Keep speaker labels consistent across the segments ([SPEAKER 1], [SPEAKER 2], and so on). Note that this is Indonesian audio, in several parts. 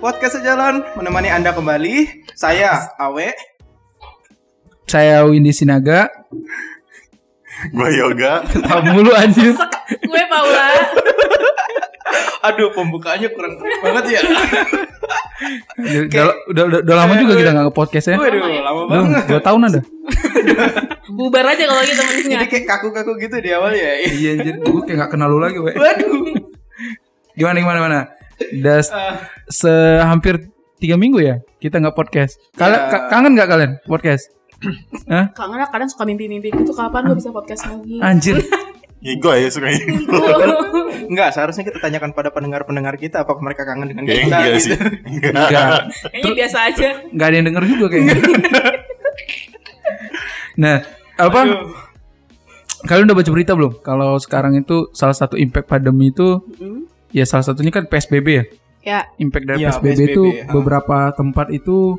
[SPEAKER 1] Podcast Sejalan menemani Anda kembali. Saya Awe.
[SPEAKER 2] Saya Windy Sinaga.
[SPEAKER 3] Gue yoga.
[SPEAKER 2] Tahu mulu anjir.
[SPEAKER 4] Gue Paula.
[SPEAKER 1] Aduh, pembukaannya kurang keren banget ya.
[SPEAKER 2] Udah, udah, udah, udah lama juga kita nggak ke podcast ya.
[SPEAKER 1] Waduh,
[SPEAKER 4] my
[SPEAKER 1] lama
[SPEAKER 2] Udah,
[SPEAKER 1] banget.
[SPEAKER 2] dua tahun ada.
[SPEAKER 4] Bubar aja kalau gitu temennya.
[SPEAKER 1] Jadi kayak kaku-kaku gitu di awal ya.
[SPEAKER 2] Iya anjir, gue kayak gak kenal lu lagi, we.
[SPEAKER 1] Waduh.
[SPEAKER 2] Gimana gimana gimana? Udah se-
[SPEAKER 1] Ah,
[SPEAKER 2] se- hampir tiga minggu ya kita nggak podcast. Kalian
[SPEAKER 1] Ya.
[SPEAKER 2] ka- kangen nggak kalian podcast? Hah?
[SPEAKER 4] Kangen lah, kadang suka mimpi-mimpi gitu kapan gue bisa podcast lagi.
[SPEAKER 2] Anjir,
[SPEAKER 3] Ya gue ya suka ini.
[SPEAKER 1] Enggak, seharusnya kita tanyakan pada pendengar-pendengar kita apakah mereka kangen dengan
[SPEAKER 3] Kayaknya
[SPEAKER 1] kita
[SPEAKER 3] enggak
[SPEAKER 1] gitu.
[SPEAKER 3] sih. Enggak.
[SPEAKER 2] enggak
[SPEAKER 4] Kayaknya biasa aja.
[SPEAKER 2] nggak ada yang denger juga kayaknya. nah, apa?
[SPEAKER 1] Aduh.
[SPEAKER 2] Kalian udah baca berita belum? Kalau sekarang itu salah satu impact pandemi itu
[SPEAKER 4] Mm.
[SPEAKER 2] ya salah satunya kan PSBB ya.
[SPEAKER 4] Ya,
[SPEAKER 2] impact dari
[SPEAKER 1] Iya,
[SPEAKER 2] PSBB,
[SPEAKER 1] PSBB,
[SPEAKER 2] itu
[SPEAKER 4] ah.
[SPEAKER 1] ha.
[SPEAKER 2] beberapa tempat itu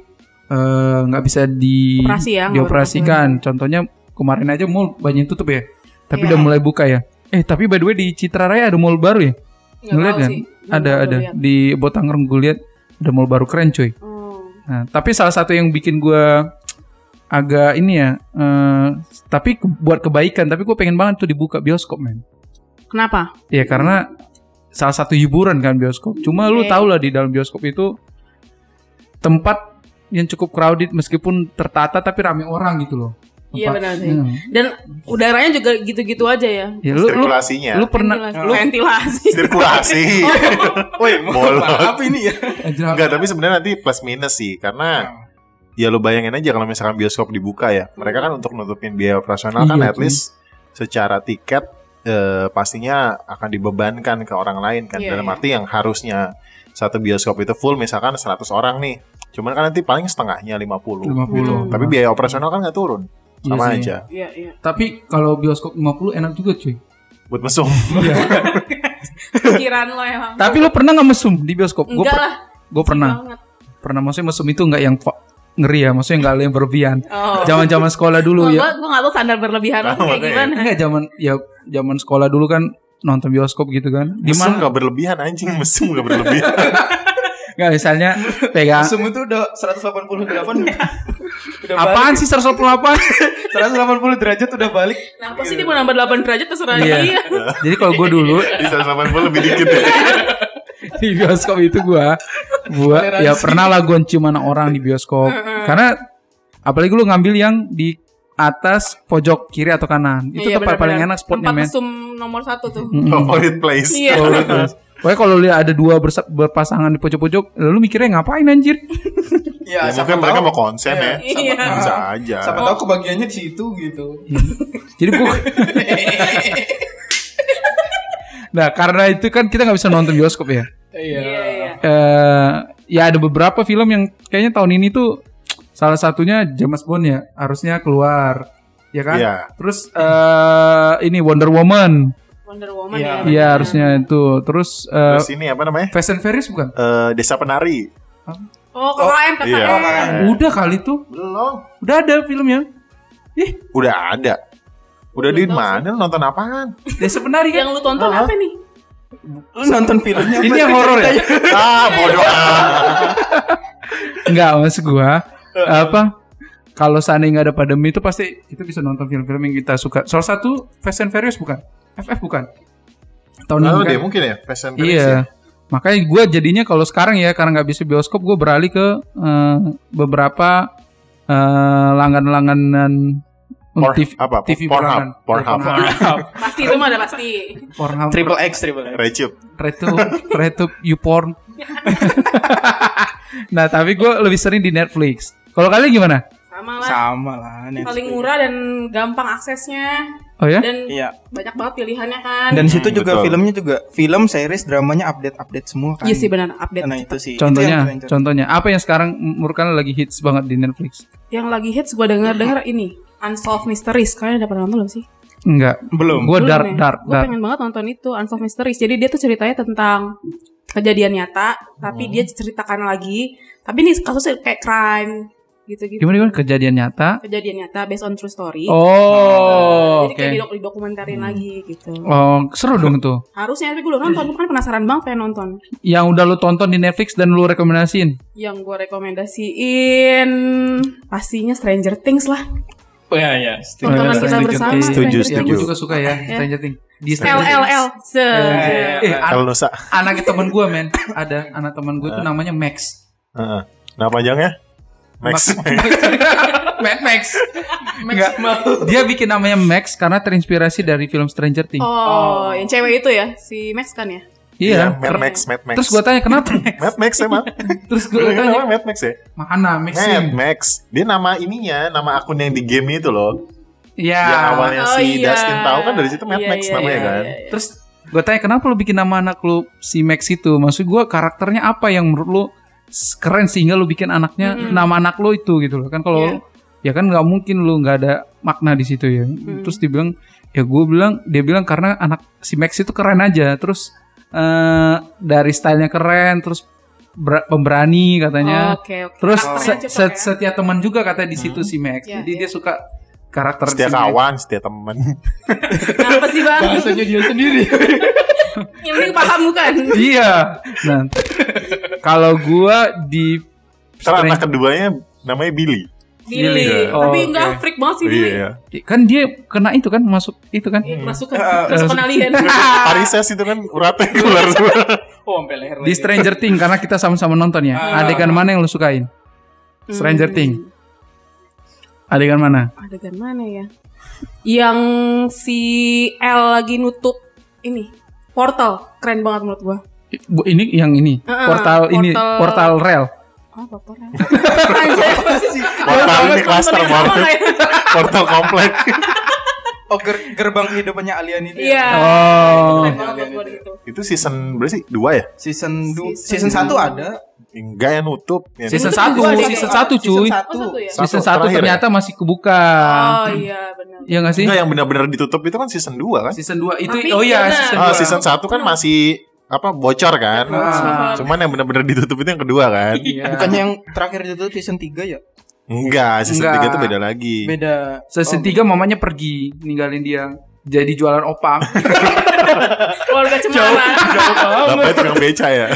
[SPEAKER 2] eh, nggak bisa di
[SPEAKER 4] Operasi ya, nggak
[SPEAKER 2] dioperasikan. Contohnya kemarin aja mall banyak yang tutup ya, tapi
[SPEAKER 4] Iya.
[SPEAKER 2] udah mulai buka ya. Eh tapi by the way di Citra Raya ada mall baru ya?
[SPEAKER 4] nggak
[SPEAKER 2] Ngeliat
[SPEAKER 4] tahu
[SPEAKER 2] kan?
[SPEAKER 4] sih. Belum
[SPEAKER 2] Ada
[SPEAKER 4] tahu
[SPEAKER 2] ada
[SPEAKER 4] lihat.
[SPEAKER 2] di Botangerang gue lihat ada mall baru keren cuy.
[SPEAKER 4] Hmm.
[SPEAKER 2] Nah, tapi salah satu yang bikin gue agak ini ya, eh, tapi ke- buat kebaikan. Tapi gue pengen banget tuh dibuka bioskop men.
[SPEAKER 4] Kenapa?
[SPEAKER 2] Ya karena salah satu hiburan kan bioskop. Cuma lu
[SPEAKER 4] Oke.
[SPEAKER 2] tau lah di dalam bioskop itu tempat yang cukup crowded meskipun tertata tapi rame orang gitu loh.
[SPEAKER 4] Iya
[SPEAKER 2] Tempat-
[SPEAKER 4] benar sih.
[SPEAKER 2] Hmm.
[SPEAKER 4] Dan udaranya juga gitu-gitu aja ya.
[SPEAKER 2] Ya lu lu,
[SPEAKER 3] Sirkulasinya.
[SPEAKER 2] lu Oh, pernah
[SPEAKER 4] Ventilasi. ventilasi.
[SPEAKER 3] Sirkulasi.
[SPEAKER 1] Woi, mau
[SPEAKER 3] Bolot.
[SPEAKER 1] apa ini ya?
[SPEAKER 2] Anjir,
[SPEAKER 3] Enggak, tapi sebenarnya nanti plus minus sih karena
[SPEAKER 2] Hmm.
[SPEAKER 3] ya lu bayangin aja kalau misalkan bioskop dibuka ya. Mereka kan untuk nutupin biaya operasional kan
[SPEAKER 2] Iya,
[SPEAKER 3] at least secara tiket eh, pastinya akan dibebankan ke orang lain kan.
[SPEAKER 4] Iya,
[SPEAKER 3] Dalam
[SPEAKER 4] iya.
[SPEAKER 3] arti yang harusnya satu bioskop itu full misalkan 100 orang nih. Cuman kan nanti paling setengahnya 50.
[SPEAKER 2] 50.
[SPEAKER 3] Tapi biaya operasional kan nggak turun.
[SPEAKER 2] Iya
[SPEAKER 3] Sama
[SPEAKER 2] sih.
[SPEAKER 3] aja.
[SPEAKER 4] Iya, iya.
[SPEAKER 2] Tapi kalau bioskop 50 enak juga cuy.
[SPEAKER 3] Buat mesum.
[SPEAKER 2] Iya,
[SPEAKER 4] Pikiran lo emang.
[SPEAKER 2] tapi lu pernah nggak mesum di bioskop? Gue
[SPEAKER 4] Enggak lah.
[SPEAKER 2] pernah.
[SPEAKER 4] Banget.
[SPEAKER 2] Pernah maksudnya mesum itu nggak yang fa- ngeri ya, maksudnya nggak yang berlebihan.
[SPEAKER 4] Oh.
[SPEAKER 2] Zaman-zaman sekolah dulu
[SPEAKER 4] Gue
[SPEAKER 2] ya.
[SPEAKER 4] gue nggak tahu standar berlebihan
[SPEAKER 3] Nah,
[SPEAKER 4] lo kayak
[SPEAKER 3] makanya.
[SPEAKER 4] gimana.
[SPEAKER 2] Enggak zaman ya zaman sekolah dulu kan nonton bioskop gitu kan. Di
[SPEAKER 3] Mesum
[SPEAKER 2] mana?
[SPEAKER 3] nggak berlebihan anjing, mesum nggak berlebihan.
[SPEAKER 2] Enggak misalnya pegang
[SPEAKER 1] Sum itu udah 188. udah
[SPEAKER 2] Apaan sih 188?
[SPEAKER 1] balik. 180 derajat udah balik.
[SPEAKER 4] Nah, apa sih dia mau nambah 8 derajat terserah
[SPEAKER 2] Iya.
[SPEAKER 4] dia.
[SPEAKER 2] Jadi kalau gue dulu
[SPEAKER 3] Di 180 lebih dikit ya.
[SPEAKER 2] di bioskop itu gue, gue ya pernah lah gue cium anak orang di bioskop. Karena apalagi lu ngambil yang di atas pojok kiri atau kanan itu
[SPEAKER 4] Iya,
[SPEAKER 2] tempat paling
[SPEAKER 4] benar-benar.
[SPEAKER 2] enak spotnya
[SPEAKER 4] Tempat
[SPEAKER 2] men.
[SPEAKER 4] mesum nomor satu tuh.
[SPEAKER 3] Favorite place.
[SPEAKER 4] Iya.
[SPEAKER 2] Kalau lu terus. Pokoknya kalau lihat ada dua bersa- berpasangan di pojok-pojok, lalu mikirnya ngapain anjir?
[SPEAKER 3] Ya,
[SPEAKER 1] Ya, siapa
[SPEAKER 3] mungkin mereka
[SPEAKER 1] tahu.
[SPEAKER 3] mau konsen ya.
[SPEAKER 4] Iya.
[SPEAKER 3] Bisa aja.
[SPEAKER 1] Siapa tahu kebagiannya di situ gitu.
[SPEAKER 2] Jadi gue Nah karena itu kan kita nggak bisa nonton bioskop ya
[SPEAKER 4] Iya, iya.
[SPEAKER 2] eh ya ada beberapa film yang kayaknya tahun ini tuh salah satunya James Bond ya harusnya keluar ya kan
[SPEAKER 3] Iya.
[SPEAKER 2] terus eh ini Wonder Woman
[SPEAKER 4] Wonder Woman
[SPEAKER 1] Iya.
[SPEAKER 4] ya.
[SPEAKER 2] Iya harusnya itu terus, eh,
[SPEAKER 3] Terus ini apa namanya?
[SPEAKER 2] Fast and Furious bukan
[SPEAKER 3] Eh, Desa Penari.
[SPEAKER 4] Oh, KKN, KKN.
[SPEAKER 3] Iya.
[SPEAKER 2] udah kali tuh
[SPEAKER 3] Belum.
[SPEAKER 2] udah ada filmnya ih
[SPEAKER 3] Udah ada. Udah di mana nonton apaan?
[SPEAKER 2] desa penari
[SPEAKER 4] Yang
[SPEAKER 2] kan
[SPEAKER 4] lu tonton
[SPEAKER 3] Hah?
[SPEAKER 4] apa nih?
[SPEAKER 1] Lu nonton filmnya
[SPEAKER 2] ini
[SPEAKER 1] apa?
[SPEAKER 2] yang horor ya
[SPEAKER 3] ah, bodoh amat.
[SPEAKER 2] Enggak maksud gua apa kalau seandainya nggak ada pandemi itu pasti kita bisa nonton film-film yang kita suka salah satu Fast and Furious bukan FF bukan tahun ini
[SPEAKER 3] Lalu
[SPEAKER 2] kan?
[SPEAKER 3] deh mungkin ya fashion
[SPEAKER 2] Iya. Makanya gue jadinya kalau sekarang ya karena nggak bisa bioskop gue beralih ke eh, beberapa eh, langganan-langganan
[SPEAKER 3] Por-
[SPEAKER 2] TV,
[SPEAKER 3] apa?
[SPEAKER 2] TV
[SPEAKER 3] Pornhub.
[SPEAKER 2] bulanan.
[SPEAKER 3] Pornhub.
[SPEAKER 2] Ya, Pornhub.
[SPEAKER 4] Pasti itu mah ada pasti.
[SPEAKER 2] Pornhub.
[SPEAKER 1] Triple X, Triple X.
[SPEAKER 3] Recup.
[SPEAKER 2] Retup, Retup, YouPorn. nah tapi gue lebih sering di Netflix. Kalau kalian gimana?
[SPEAKER 4] Sama lah.
[SPEAKER 1] Sama lah. Netflix.
[SPEAKER 4] Paling murah dan gampang aksesnya
[SPEAKER 2] Oh ya?
[SPEAKER 4] dan
[SPEAKER 1] Iya.
[SPEAKER 4] banyak banget pilihannya kan.
[SPEAKER 1] Dan situ
[SPEAKER 3] Hmm,
[SPEAKER 1] juga
[SPEAKER 3] betul.
[SPEAKER 1] filmnya juga film, series, dramanya update-update semua kan.
[SPEAKER 4] Iya sih benar update.
[SPEAKER 1] Nah itu sih. Itu yang
[SPEAKER 2] Contohnya,
[SPEAKER 1] keren, Cok.
[SPEAKER 2] contohnya apa yang sekarang menurut kalian lagi hits banget di Netflix?
[SPEAKER 4] Yang lagi hits gua denger-denger ini Unsolved Mysteries. Kalian udah pernah nonton belum sih?
[SPEAKER 2] Enggak.
[SPEAKER 1] belum.
[SPEAKER 2] Gue
[SPEAKER 4] Belum
[SPEAKER 2] dark,
[SPEAKER 4] ya?
[SPEAKER 2] dark,
[SPEAKER 4] Gua
[SPEAKER 2] dark.
[SPEAKER 4] pengen banget nonton itu Unsolved Mysteries. Jadi dia tuh ceritanya tentang kejadian nyata, tapi dia ceritakan lagi. Tapi ini kasusnya kayak crime gitu-gitu.
[SPEAKER 2] Gimana gimana kejadian nyata?
[SPEAKER 4] Kejadian nyata based on true story.
[SPEAKER 2] Oh,
[SPEAKER 4] Jadi
[SPEAKER 2] oke.
[SPEAKER 4] kayak didok- didokumentarin lagi gitu.
[SPEAKER 2] Oh, seru dong tuh.
[SPEAKER 4] Harusnya tapi gue udah nonton, gue kan penasaran banget pengen nonton.
[SPEAKER 2] Yang udah lu tonton di Netflix dan lu rekomendasiin.
[SPEAKER 4] Yang gue rekomendasiin pastinya Stranger Things lah.
[SPEAKER 1] Oh iya iya.
[SPEAKER 4] Tontonan kita
[SPEAKER 2] Stranger
[SPEAKER 4] bersama
[SPEAKER 2] Things.
[SPEAKER 3] Setuju,
[SPEAKER 2] Ya,
[SPEAKER 4] Stranger Things. Iya.
[SPEAKER 3] setuju.
[SPEAKER 2] gue juga suka ya Stranger Things. Di Stranger Things.
[SPEAKER 4] LLL. Se.
[SPEAKER 2] Eh, an-
[SPEAKER 3] Kalau Nusa.
[SPEAKER 2] anak temen gue men, ada anak temen gue tuh namanya Max.
[SPEAKER 3] Heeh. Nah panjangnya? Max.
[SPEAKER 2] Mad Max. Enggak. Dia bikin namanya Max karena terinspirasi dari film Stranger Things.
[SPEAKER 4] Oh, yang cewek itu ya, si Max kan ya?
[SPEAKER 2] iya.
[SPEAKER 3] Mad Max, Mad Max.
[SPEAKER 2] Terus gue tanya kenapa?
[SPEAKER 3] Mad Max emang.
[SPEAKER 2] Terus gue
[SPEAKER 3] Gue
[SPEAKER 2] tanya
[SPEAKER 3] nama Mad Max ya.
[SPEAKER 2] mana Max?
[SPEAKER 3] Mad Max. Dia nama ininya, nama akun yang di game itu loh.
[SPEAKER 2] Iya.
[SPEAKER 3] Yang awalnya
[SPEAKER 4] Oh,
[SPEAKER 3] si
[SPEAKER 4] iya.
[SPEAKER 3] Dustin tahu kan dari situ Mad
[SPEAKER 4] Iya,
[SPEAKER 3] Max
[SPEAKER 4] iya,
[SPEAKER 3] namanya
[SPEAKER 2] iya,
[SPEAKER 3] kan.
[SPEAKER 4] iya, iya.
[SPEAKER 2] Terus gue tanya kenapa lu bikin nama anak lu si Max itu? Maksud gue karakternya apa yang menurut lu s- keren sehingga lu bikin anaknya nama anak lu itu gitu loh kan kalau ya
[SPEAKER 4] Iya.
[SPEAKER 2] kan nggak mungkin lu nggak ada makna di situ ya. Terus dibilang ya gue bilang dia bilang karena anak si Max itu keren aja. Terus eh dari stylenya keren, terus ber- pemberani katanya.
[SPEAKER 4] Oke, oke.
[SPEAKER 2] Terus se-
[SPEAKER 4] Karakternya
[SPEAKER 2] se-
[SPEAKER 4] cocok ya.
[SPEAKER 2] setia teman juga kata di situ si Max.
[SPEAKER 4] Iya,
[SPEAKER 2] Jadi
[SPEAKER 4] iya.
[SPEAKER 2] dia suka karakter
[SPEAKER 3] Hmm. Setia
[SPEAKER 2] si Max.
[SPEAKER 3] kawan, setia temen.
[SPEAKER 4] Kenapa sih bang?
[SPEAKER 1] Bahasanya dia sendiri.
[SPEAKER 4] Yang penting paham bukan?
[SPEAKER 2] Iya. Nah, kalau gua di
[SPEAKER 3] Terus anak keduanya namanya Billy.
[SPEAKER 4] Billy.
[SPEAKER 3] Billy.
[SPEAKER 2] Oh,
[SPEAKER 4] Tapi
[SPEAKER 2] oke.
[SPEAKER 4] enggak freak banget sih Billy.
[SPEAKER 3] Iya.
[SPEAKER 2] kan dia kena itu kan masuk itu kan.
[SPEAKER 4] Masuk ke masuk penalian.
[SPEAKER 3] Parises itu kan uratnya keluar semua.
[SPEAKER 1] Oh sampai leher.
[SPEAKER 2] Di Stranger Things karena kita sama-sama nonton ya. Adegan mana yang lu sukain? Stranger Things. Adegan mana?
[SPEAKER 4] Adegan mana ya? Yang si L lagi nutup ini portal. Keren banget menurut gua.
[SPEAKER 2] Bu, ini yang ini.
[SPEAKER 4] Heeh,
[SPEAKER 2] portal, ini
[SPEAKER 4] portal-
[SPEAKER 2] portal rel.
[SPEAKER 4] Oh, portal. Anjay, apa sih?
[SPEAKER 3] Portal ini klaster
[SPEAKER 4] Nonton yang
[SPEAKER 3] banget.
[SPEAKER 4] sama nggak ya?
[SPEAKER 3] Portal komplek.
[SPEAKER 1] Oh ger- gerbang kehidupannya alien itu. ya?
[SPEAKER 4] Iya.
[SPEAKER 2] Oh.
[SPEAKER 4] Keren banget menurut gua gitu.
[SPEAKER 3] Itu season berapa sih? Dua ya?
[SPEAKER 1] Season du-
[SPEAKER 4] Season
[SPEAKER 1] season 1 ada.
[SPEAKER 3] Enggak yang nutup. Yang
[SPEAKER 2] Season
[SPEAKER 4] Itu
[SPEAKER 2] 1,
[SPEAKER 4] kedua deh,
[SPEAKER 2] season
[SPEAKER 4] Pak.
[SPEAKER 2] 1
[SPEAKER 1] Season
[SPEAKER 2] cuy.
[SPEAKER 4] Oh, satu ya?
[SPEAKER 3] Satu,
[SPEAKER 2] Season 1
[SPEAKER 3] terakhir ya?
[SPEAKER 2] ternyata masih kebuka.
[SPEAKER 4] Oh iya, benar.
[SPEAKER 2] Iya nggak sih?
[SPEAKER 3] Enggak yang benar-benar ditutup itu kan season 2 kan?
[SPEAKER 2] Season 2 itu
[SPEAKER 4] Tapi
[SPEAKER 2] oh iya
[SPEAKER 4] karena-
[SPEAKER 2] season 2.
[SPEAKER 3] Ah, season 1 kan masih apa bocor kan?
[SPEAKER 2] Ah.
[SPEAKER 3] Cuman yang benar-benar ditutup itu yang kedua kan?
[SPEAKER 2] Iya.
[SPEAKER 1] Bukannya yang terakhir itu season 3 ya?
[SPEAKER 3] Enggak, season
[SPEAKER 2] Enggak.
[SPEAKER 3] 3 itu beda lagi.
[SPEAKER 1] Beda.
[SPEAKER 3] Oh.
[SPEAKER 2] Season 3 mamanya pergi ninggalin dia jadi jualan opang.
[SPEAKER 4] Keluarga cemara.
[SPEAKER 3] Bapaknya tukang beca ya.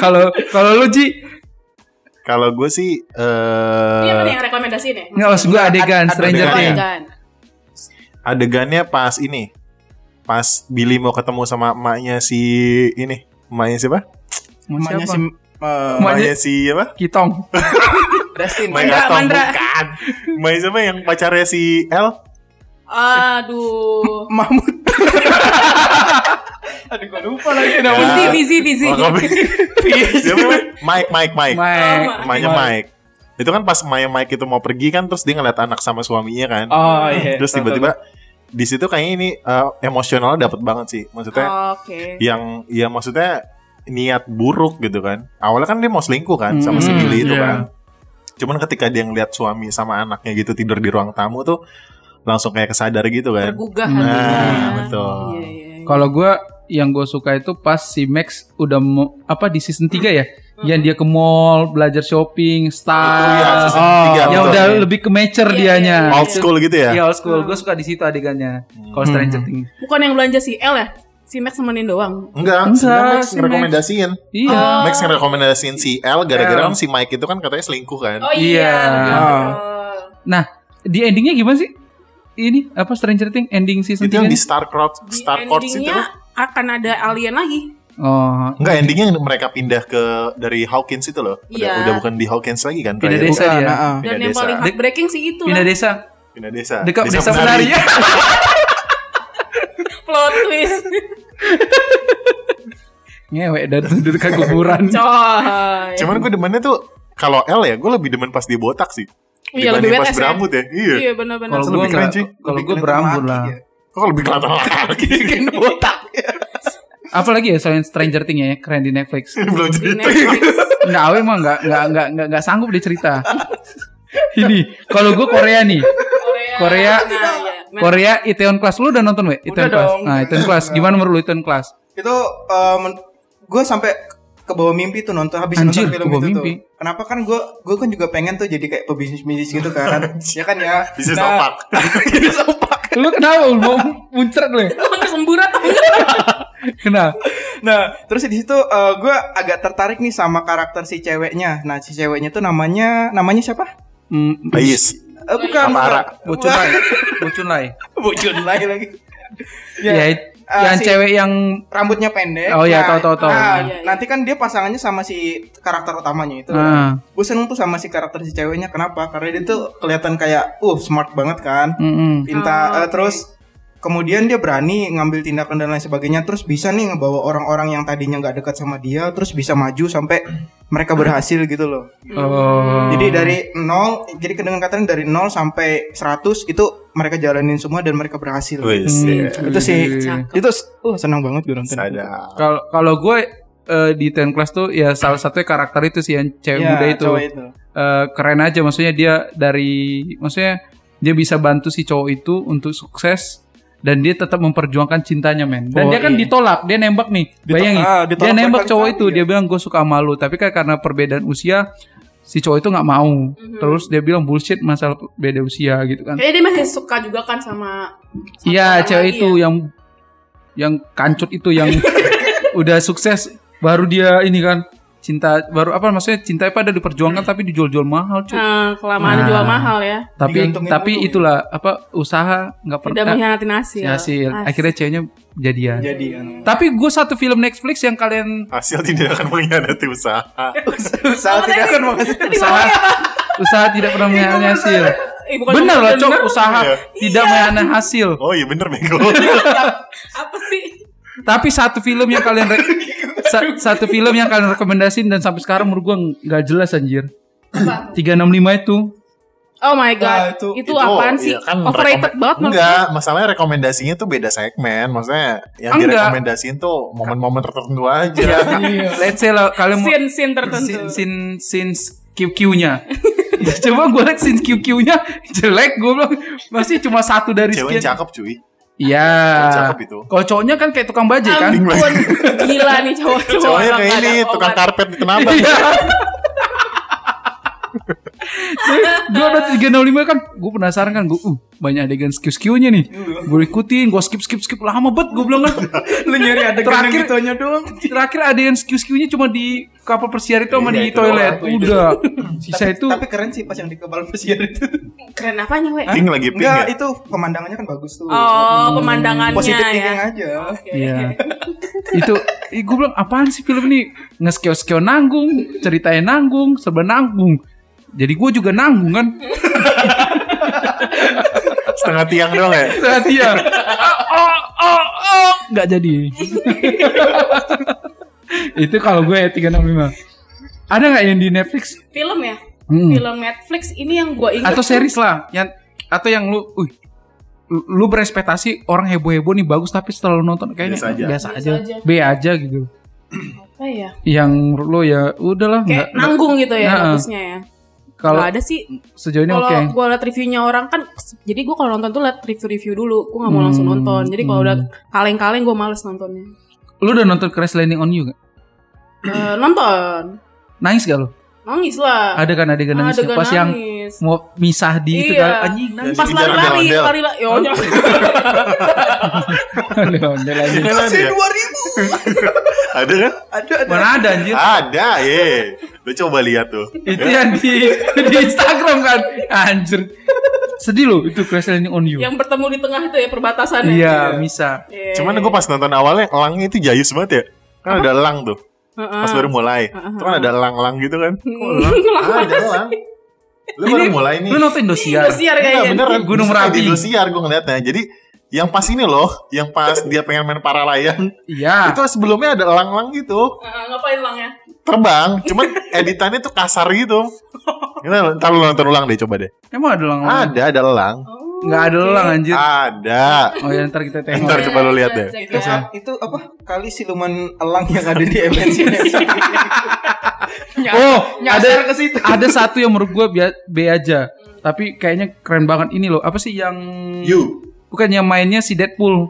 [SPEAKER 2] Kalau kalau lu Ji
[SPEAKER 3] Kalau gue sih
[SPEAKER 4] Iya
[SPEAKER 3] eh
[SPEAKER 4] bener yang rekomendasiin ya? kan?
[SPEAKER 2] Nggak maksud gue adegan
[SPEAKER 1] Ad-
[SPEAKER 2] Stranger
[SPEAKER 3] adegan
[SPEAKER 2] Things.
[SPEAKER 3] ya. adegannya pas ini. Pas Billy mau ketemu sama emaknya si ini. Emaknya siapa? Oh,
[SPEAKER 1] Emaknya si
[SPEAKER 3] iya.
[SPEAKER 1] eh,
[SPEAKER 2] Emaknya-
[SPEAKER 3] Emaknya si apa?
[SPEAKER 2] Kitong.
[SPEAKER 1] Dustin.
[SPEAKER 3] Emaknya
[SPEAKER 4] Mandra,
[SPEAKER 3] Gatom,
[SPEAKER 4] Mandra.
[SPEAKER 3] bukan. Emaknya siapa yang pacarnya si L?
[SPEAKER 4] Aduh.
[SPEAKER 1] Mahmud. Aduh gua lupa lagi
[SPEAKER 3] Ya.
[SPEAKER 4] Busy, busy, busy.
[SPEAKER 3] Oh, kamu- Siapa? Mike, Mike, Mike.
[SPEAKER 2] Mike.
[SPEAKER 3] Emaknya Mike. Itu kan pas emaknya Mike itu mau pergi kan terus dia ngeliat anak sama suaminya kan.
[SPEAKER 1] Oh iya.
[SPEAKER 3] terus tiba-tiba di situ kayaknya ini eh, emosionalnya dapat banget sih. Maksudnya
[SPEAKER 4] Oke.
[SPEAKER 3] yang ya maksudnya niat buruk gitu kan. Awalnya kan dia mau selingkuh kan sama si
[SPEAKER 2] Hmm,
[SPEAKER 3] Billy itu
[SPEAKER 2] iya.
[SPEAKER 3] kan. Cuman ketika dia ngeliat suami sama anaknya gitu tidur di ruang tamu tuh langsung kayak kesadar gitu kan.
[SPEAKER 4] Tergugah
[SPEAKER 2] Nah,
[SPEAKER 4] hatinya.
[SPEAKER 3] betul.
[SPEAKER 4] Iya, iya, iya.
[SPEAKER 2] Kalau gue yang gue suka itu pas si Max udah mau, apa di season 3 ya, yang dia ke mall belajar shopping,
[SPEAKER 3] Itu ya,
[SPEAKER 2] style,
[SPEAKER 3] season
[SPEAKER 1] oh, ya
[SPEAKER 3] tiga,
[SPEAKER 2] yang
[SPEAKER 3] betul.
[SPEAKER 2] Ah, udah lebih ke mature
[SPEAKER 4] Iya,
[SPEAKER 2] dianya.
[SPEAKER 4] iya,
[SPEAKER 3] old school gitu ya.
[SPEAKER 2] Iya, old school. Gue suka di situ adegannya. Kalau Stranger Things.
[SPEAKER 4] Bukan yang belanja si L ya? Si Max nemenin doang.
[SPEAKER 2] Enggak,
[SPEAKER 3] Enggak, sebenarnya Max
[SPEAKER 2] si Max.
[SPEAKER 3] ngerekomendasiin.
[SPEAKER 2] Iya.
[SPEAKER 4] Oh.
[SPEAKER 3] Max ngerekomendasiin si L
[SPEAKER 2] L.
[SPEAKER 3] gara-gara kan si Mike itu kan katanya selingkuh kan.
[SPEAKER 4] Oh
[SPEAKER 2] Iya.
[SPEAKER 4] betul.
[SPEAKER 2] Nah, di endingnya gimana sih? Ini apa Stranger Things ending season
[SPEAKER 3] itu yang
[SPEAKER 2] 3?
[SPEAKER 3] di Star Cross,
[SPEAKER 4] Di
[SPEAKER 3] Star Courts itu.
[SPEAKER 4] endingnya akan ada alien lagi.
[SPEAKER 2] Oh,
[SPEAKER 3] Enggak, endingnya mereka pindah ke dari Hawkins itu loh. Udah,
[SPEAKER 4] Iya.
[SPEAKER 3] udah bukan di Hawkins lagi kan.
[SPEAKER 2] Pindah
[SPEAKER 3] terakhir.
[SPEAKER 2] desa
[SPEAKER 1] ah,
[SPEAKER 2] dia.
[SPEAKER 4] Dan
[SPEAKER 3] Pindah
[SPEAKER 4] yang
[SPEAKER 3] desa.
[SPEAKER 4] paling
[SPEAKER 2] Dek-
[SPEAKER 4] heartbreaking sih itu kan,
[SPEAKER 2] pindah
[SPEAKER 4] lah.
[SPEAKER 2] desa.
[SPEAKER 3] Pindah desa.
[SPEAKER 2] Dekat desa penari.
[SPEAKER 4] ya? Plot twist.
[SPEAKER 2] Ngewek dan duduk ke kuburan.
[SPEAKER 4] Coy.
[SPEAKER 3] Cuman gue demennya tuh kalau L ya, gue lebih demen pas dia botak sih.
[SPEAKER 4] Iya,
[SPEAKER 3] Dibanding
[SPEAKER 4] lebih
[SPEAKER 3] pas
[SPEAKER 4] badass ya.
[SPEAKER 3] berambut ya. Iya.
[SPEAKER 4] Iya benar-benar.
[SPEAKER 2] Kalau
[SPEAKER 3] Lebih
[SPEAKER 2] gue
[SPEAKER 3] keren
[SPEAKER 2] enggak,
[SPEAKER 3] sih.
[SPEAKER 2] kalau
[SPEAKER 1] Lebih
[SPEAKER 2] gue
[SPEAKER 1] keren
[SPEAKER 2] berambut
[SPEAKER 1] mati
[SPEAKER 2] lah.
[SPEAKER 1] dia.
[SPEAKER 3] Kok lebih kelihatan laki
[SPEAKER 1] botak.
[SPEAKER 2] Apalagi ya selain Stranger Things ya, keren di Netflix.
[SPEAKER 3] belum
[SPEAKER 4] Di
[SPEAKER 3] cerita.
[SPEAKER 4] Netflix.
[SPEAKER 2] Nggak, Awe mah nggak nggak nggak nggak nggak sanggup dia cerita. Ini kalau gue Korea nih,
[SPEAKER 4] Korea.
[SPEAKER 2] Korea.
[SPEAKER 4] Nah, iya. Men-
[SPEAKER 2] Korea Itaewon Class lu udah nonton we? Itaewon Class.
[SPEAKER 1] dong.
[SPEAKER 2] Nah Itaewon Class, gimana menurut lu Itaewon Class?
[SPEAKER 1] Itu eh, men- gua sampai ke bawah mimpi tuh nonton habis
[SPEAKER 2] Anjir,
[SPEAKER 1] nonton film
[SPEAKER 2] kebawa
[SPEAKER 1] itu
[SPEAKER 2] mimpi.
[SPEAKER 1] tuh. Kenapa kan gue gue kan juga pengen tuh jadi kayak pebisnis bisnis gitu kan. ya kan ya.
[SPEAKER 3] Bisnis
[SPEAKER 2] Nah.
[SPEAKER 3] opak.
[SPEAKER 1] Bisnis opak.
[SPEAKER 2] Lu kenapa lu mau muncrat lu? ya?
[SPEAKER 4] Lu bener semburat atau kan enggak?
[SPEAKER 2] Kenapa?
[SPEAKER 1] Nah, terus di situ eh, gue agak tertarik nih sama karakter si ceweknya. Nah, si ceweknya tuh namanya namanya siapa?
[SPEAKER 2] Mm,
[SPEAKER 3] Ais.
[SPEAKER 1] Eh, bukan.
[SPEAKER 3] Apa Ara?
[SPEAKER 2] Bocun lai, bocun lai.
[SPEAKER 1] Bocun lagi lagi.
[SPEAKER 2] Ya,
[SPEAKER 1] Ah,
[SPEAKER 2] yang
[SPEAKER 1] si-
[SPEAKER 2] cewek yang
[SPEAKER 1] Rambutnya pendek.
[SPEAKER 2] Oh iya, tahu, tahu, tahu.
[SPEAKER 1] nah,
[SPEAKER 4] Ah, iya, iya.
[SPEAKER 1] Nanti kan dia pasangannya sama si karakter utamanya itu.
[SPEAKER 2] ah,
[SPEAKER 1] Gue seneng tuh sama si karakter si ceweknya. Kenapa? Karena dia tuh kelihatan kayak, uh, smart banget kan.
[SPEAKER 2] mm-mm.
[SPEAKER 1] Pinta,
[SPEAKER 4] Oh,
[SPEAKER 1] eh,
[SPEAKER 4] oke.
[SPEAKER 1] terus kemudian dia berani ngambil tindakan dan lain sebagainya. Terus bisa nih ngebawa orang-orang yang tadinya nggak dekat sama dia, terus bisa maju sampai mereka berhasil gitu loh.
[SPEAKER 2] Oh.
[SPEAKER 1] Jadi dari nol, jadi dengan katanya dari nol sampai 100 itu mereka jalanin semua dan mereka berhasil.
[SPEAKER 3] Wis.
[SPEAKER 4] Hmm.
[SPEAKER 3] ya.
[SPEAKER 1] Itu sih,
[SPEAKER 4] Cakep.
[SPEAKER 1] itu uh, senang banget gue nonton.
[SPEAKER 3] Sadap.
[SPEAKER 2] Kalau kalau gue eh, di ten class tuh ya salah satunya karakter itu sih yang cewek
[SPEAKER 1] Iya,
[SPEAKER 2] muda itu
[SPEAKER 1] cowok itu.
[SPEAKER 2] Eh, keren aja maksudnya dia dari maksudnya dia bisa bantu si cowok itu untuk sukses dan dia tetap memperjuangkan cintanya men
[SPEAKER 1] Oh,
[SPEAKER 2] dan dia kan
[SPEAKER 1] iya.
[SPEAKER 2] ditolak dia nembak nih
[SPEAKER 1] Ditol-
[SPEAKER 2] bayangin
[SPEAKER 1] ah, ditolak
[SPEAKER 2] dia nembak
[SPEAKER 1] berkali-kali
[SPEAKER 2] cowok itu
[SPEAKER 1] ya.
[SPEAKER 2] dia bilang gue suka malu tapi kan karena perbedaan usia si cowok itu nggak mau
[SPEAKER 1] Mhm.
[SPEAKER 2] terus dia bilang bullshit masalah beda usia gitu kan
[SPEAKER 4] Kayaknya dia masih suka juga kan sama sama
[SPEAKER 2] Iya
[SPEAKER 4] orang
[SPEAKER 2] cewek
[SPEAKER 4] lagi ya.
[SPEAKER 2] itu yang yang kancut itu yang udah sukses baru dia ini kan cinta baru apa maksudnya cinta pada diperjuangkan tapi dijual-jual mahal cuy.
[SPEAKER 4] Eh, kelamaan
[SPEAKER 2] Nah.
[SPEAKER 4] jual mahal ya.
[SPEAKER 2] tapi
[SPEAKER 1] digantungin ya.
[SPEAKER 2] tapi
[SPEAKER 1] mulu.
[SPEAKER 2] itulah apa usaha nggak
[SPEAKER 4] Tidak
[SPEAKER 2] pernah
[SPEAKER 4] mengkhianati hasil.
[SPEAKER 2] hasil. hasil. eh, Akhirnya ceweknya jadian.
[SPEAKER 1] Jadi kan.
[SPEAKER 2] Tapi gue satu film Netflix yang kalian
[SPEAKER 3] Hasil tidak akan mengkhianati usaha.
[SPEAKER 1] Usaha tidak
[SPEAKER 3] kan,
[SPEAKER 1] akan mengasih.
[SPEAKER 4] Oh,
[SPEAKER 2] usaha usaha tidak pernah mengkhianati hasil.
[SPEAKER 4] Eh, Iya, bukan
[SPEAKER 2] Bener
[SPEAKER 4] bukan
[SPEAKER 2] lah
[SPEAKER 4] bener.
[SPEAKER 2] cok usaha
[SPEAKER 3] Iya.
[SPEAKER 2] tidak mengkhianati hasil.
[SPEAKER 3] Oh iya bener Mego.
[SPEAKER 4] Apa sih?
[SPEAKER 2] Tapi satu film yang kalian re-
[SPEAKER 3] Iya,
[SPEAKER 2] sa- satu film yang kalian rekomendasin dan sampai sekarang menurut gua nggak jelas anjir. 365 itu
[SPEAKER 4] Oh my god.
[SPEAKER 1] Nah,
[SPEAKER 4] itu,
[SPEAKER 1] itu-
[SPEAKER 3] Ah,
[SPEAKER 4] apaan
[SPEAKER 3] Itu,
[SPEAKER 4] sih?
[SPEAKER 3] iya kan,
[SPEAKER 4] Overrated
[SPEAKER 3] rekom-
[SPEAKER 4] banget menurut
[SPEAKER 3] Enggak, masalahnya rekomendasinya tuh beda segmen. Maksudnya yang
[SPEAKER 2] Enggak.
[SPEAKER 3] direkomendasiin tuh momen-momen tertentu
[SPEAKER 4] Iya,
[SPEAKER 3] aja.
[SPEAKER 2] let's say lah
[SPEAKER 4] gue.
[SPEAKER 2] kalian mau
[SPEAKER 4] Scene scene tertentu.
[SPEAKER 2] sin sin sin QQ-nya. Coba gua liat sin QQ-nya jelek gua bilang masih cuma satu dari
[SPEAKER 3] Cewek
[SPEAKER 2] sekian.
[SPEAKER 3] cakep cuy.
[SPEAKER 2] Iya.
[SPEAKER 3] Cewek cakep itu.
[SPEAKER 2] Kalau cowoknya kan kayak tukang baje kan?
[SPEAKER 4] Ampun, gila nih cowok-cowok.
[SPEAKER 3] Cowoknya
[SPEAKER 4] orang
[SPEAKER 3] kayak
[SPEAKER 4] nggak
[SPEAKER 3] ini
[SPEAKER 4] ada
[SPEAKER 3] tukang
[SPEAKER 4] obat.
[SPEAKER 3] karpet di kenapa?
[SPEAKER 2] Iya. gue udah 365 kan gue penasaran kan gue uh, banyak adegan skill skillnya nih
[SPEAKER 3] Iya.
[SPEAKER 2] gue ikutin gue skip skip skip lama banget gue bilang kan
[SPEAKER 1] Lu nyari adegan yang
[SPEAKER 2] Terakhir-
[SPEAKER 3] gitu
[SPEAKER 1] gituannya doang.
[SPEAKER 2] terakhir adegan skill skillnya cuma di kapal persiar itu sama
[SPEAKER 3] Iya,
[SPEAKER 2] di
[SPEAKER 3] itu
[SPEAKER 2] toilet
[SPEAKER 3] doang.
[SPEAKER 2] udah sisa Nah, itu
[SPEAKER 1] Tapi keren sih pas yang di kebal pesiar itu.
[SPEAKER 4] Keren apanya, we?
[SPEAKER 3] Pink lagi pink
[SPEAKER 1] Enggak,
[SPEAKER 3] ya?
[SPEAKER 1] itu pemandangannya kan bagus tuh.
[SPEAKER 4] Oh, pemandangannya
[SPEAKER 1] Positif
[SPEAKER 4] ya.
[SPEAKER 1] thinking aja.
[SPEAKER 4] Oke.
[SPEAKER 2] Iya. itu gue bilang apaan sih film ini ngeskeo skeo nanggung ceritanya nanggung serba nanggung jadi gue juga nanggung kan
[SPEAKER 3] Setengah tiang doang ya?
[SPEAKER 2] Hati ya. Oh, oh, oh, oh. Nggak jadi. itu kalau gue ya 365. Ada nggak yang di Netflix?
[SPEAKER 4] Film ya?
[SPEAKER 2] Hmm.
[SPEAKER 4] Film Netflix ini yang gue ingat.
[SPEAKER 2] Atau series lah, yang atau yang lu, uh, lu- lu berespetasi orang heboh-heboh nih bagus tapi setelah lu nonton kayaknya
[SPEAKER 3] Biasa aja.
[SPEAKER 2] aja.
[SPEAKER 4] Biasa aja.
[SPEAKER 2] B aja gitu.
[SPEAKER 4] Apa ya?
[SPEAKER 2] Yang menurut lu ya udahlah nggak
[SPEAKER 4] Kayak nanggung gitu ya
[SPEAKER 2] Nah,
[SPEAKER 4] bagusnya ya.
[SPEAKER 2] kalau
[SPEAKER 4] Nggak ada sih
[SPEAKER 2] sejauh ini
[SPEAKER 4] kalau
[SPEAKER 2] oke.
[SPEAKER 4] gue liat reviewnya orang kan jadi gue kalau nonton tuh liat review-review dulu gue nggak mau
[SPEAKER 2] Hmm.
[SPEAKER 4] langsung nonton jadi kalau
[SPEAKER 2] Hmm.
[SPEAKER 4] udah kaleng-kaleng gue males nontonnya
[SPEAKER 2] Lu udah nonton Crash Landing on You gak?
[SPEAKER 4] Eh, nonton
[SPEAKER 2] Nangis gak lu?
[SPEAKER 4] nangis lah
[SPEAKER 2] Ada kan adegan nangis
[SPEAKER 4] Adegan
[SPEAKER 2] pas yang
[SPEAKER 4] nangis.
[SPEAKER 2] mau misah di itu
[SPEAKER 4] Iya.
[SPEAKER 2] kan anjing nangis.
[SPEAKER 4] pas
[SPEAKER 3] Jadi
[SPEAKER 4] lari-lari
[SPEAKER 3] ondel-ondel.
[SPEAKER 4] lari-lari ya ondel.
[SPEAKER 2] Ondel-ondel aja.
[SPEAKER 3] Kan ada.
[SPEAKER 1] Masih 2000.
[SPEAKER 3] Ada kan?
[SPEAKER 1] Ada ada.
[SPEAKER 2] Mana ada anjir?
[SPEAKER 3] Ada, ye. Lu coba lihat tuh.
[SPEAKER 2] itu yang di di Instagram kan. Anjir. Sedih loh itu crash landing on you.
[SPEAKER 4] yang bertemu di tengah itu ya perbatasan
[SPEAKER 2] Iya, bisa.
[SPEAKER 4] Iya.
[SPEAKER 3] Cuman gue pas nonton awalnya elangnya itu jayus banget ya. Kan ada elang tuh.
[SPEAKER 4] Heeh.
[SPEAKER 3] Pas baru mulai. Itu kan ada elang-elang gitu kan.
[SPEAKER 4] Lama
[SPEAKER 3] Ah, ada elang. Lu baru mulai nih.
[SPEAKER 2] Lu nonton Indosiar.
[SPEAKER 4] Indosiar
[SPEAKER 3] Enggak
[SPEAKER 4] kayaknya
[SPEAKER 3] beneran.
[SPEAKER 2] Gunung
[SPEAKER 3] Bisa
[SPEAKER 2] Merapi.
[SPEAKER 3] Di Indosiar gue ngeliatnya. Jadi yang pas ini loh, yang pas dia pengen main para layang,
[SPEAKER 2] Iya.
[SPEAKER 3] itu sebelumnya ada elang-elang gitu,
[SPEAKER 4] Heeh, ngapain ya? langnya
[SPEAKER 3] terbang, cuman editannya tuh kasar gitu. Gila, Ntar lu nonton ulang deh, coba deh.
[SPEAKER 2] Emang ada Ah. lang?
[SPEAKER 3] Ada, ada elang.
[SPEAKER 2] Enggak ada lang anjir.
[SPEAKER 3] Ada.
[SPEAKER 2] Oh ya ntar kita tengok.
[SPEAKER 3] Ntar coba lu lihat deh.
[SPEAKER 1] Itu saat Ya, itu apa kali siluman elang yang ada di MNC.
[SPEAKER 4] ya?
[SPEAKER 2] Oh,
[SPEAKER 1] Nyasar ke situ.
[SPEAKER 2] ada satu yang menurut gua bia- B aja.
[SPEAKER 4] Hmm.
[SPEAKER 2] Tapi kayaknya keren banget ini loh. Apa sih yang
[SPEAKER 3] You.
[SPEAKER 2] bukan yang mainnya si Deadpool.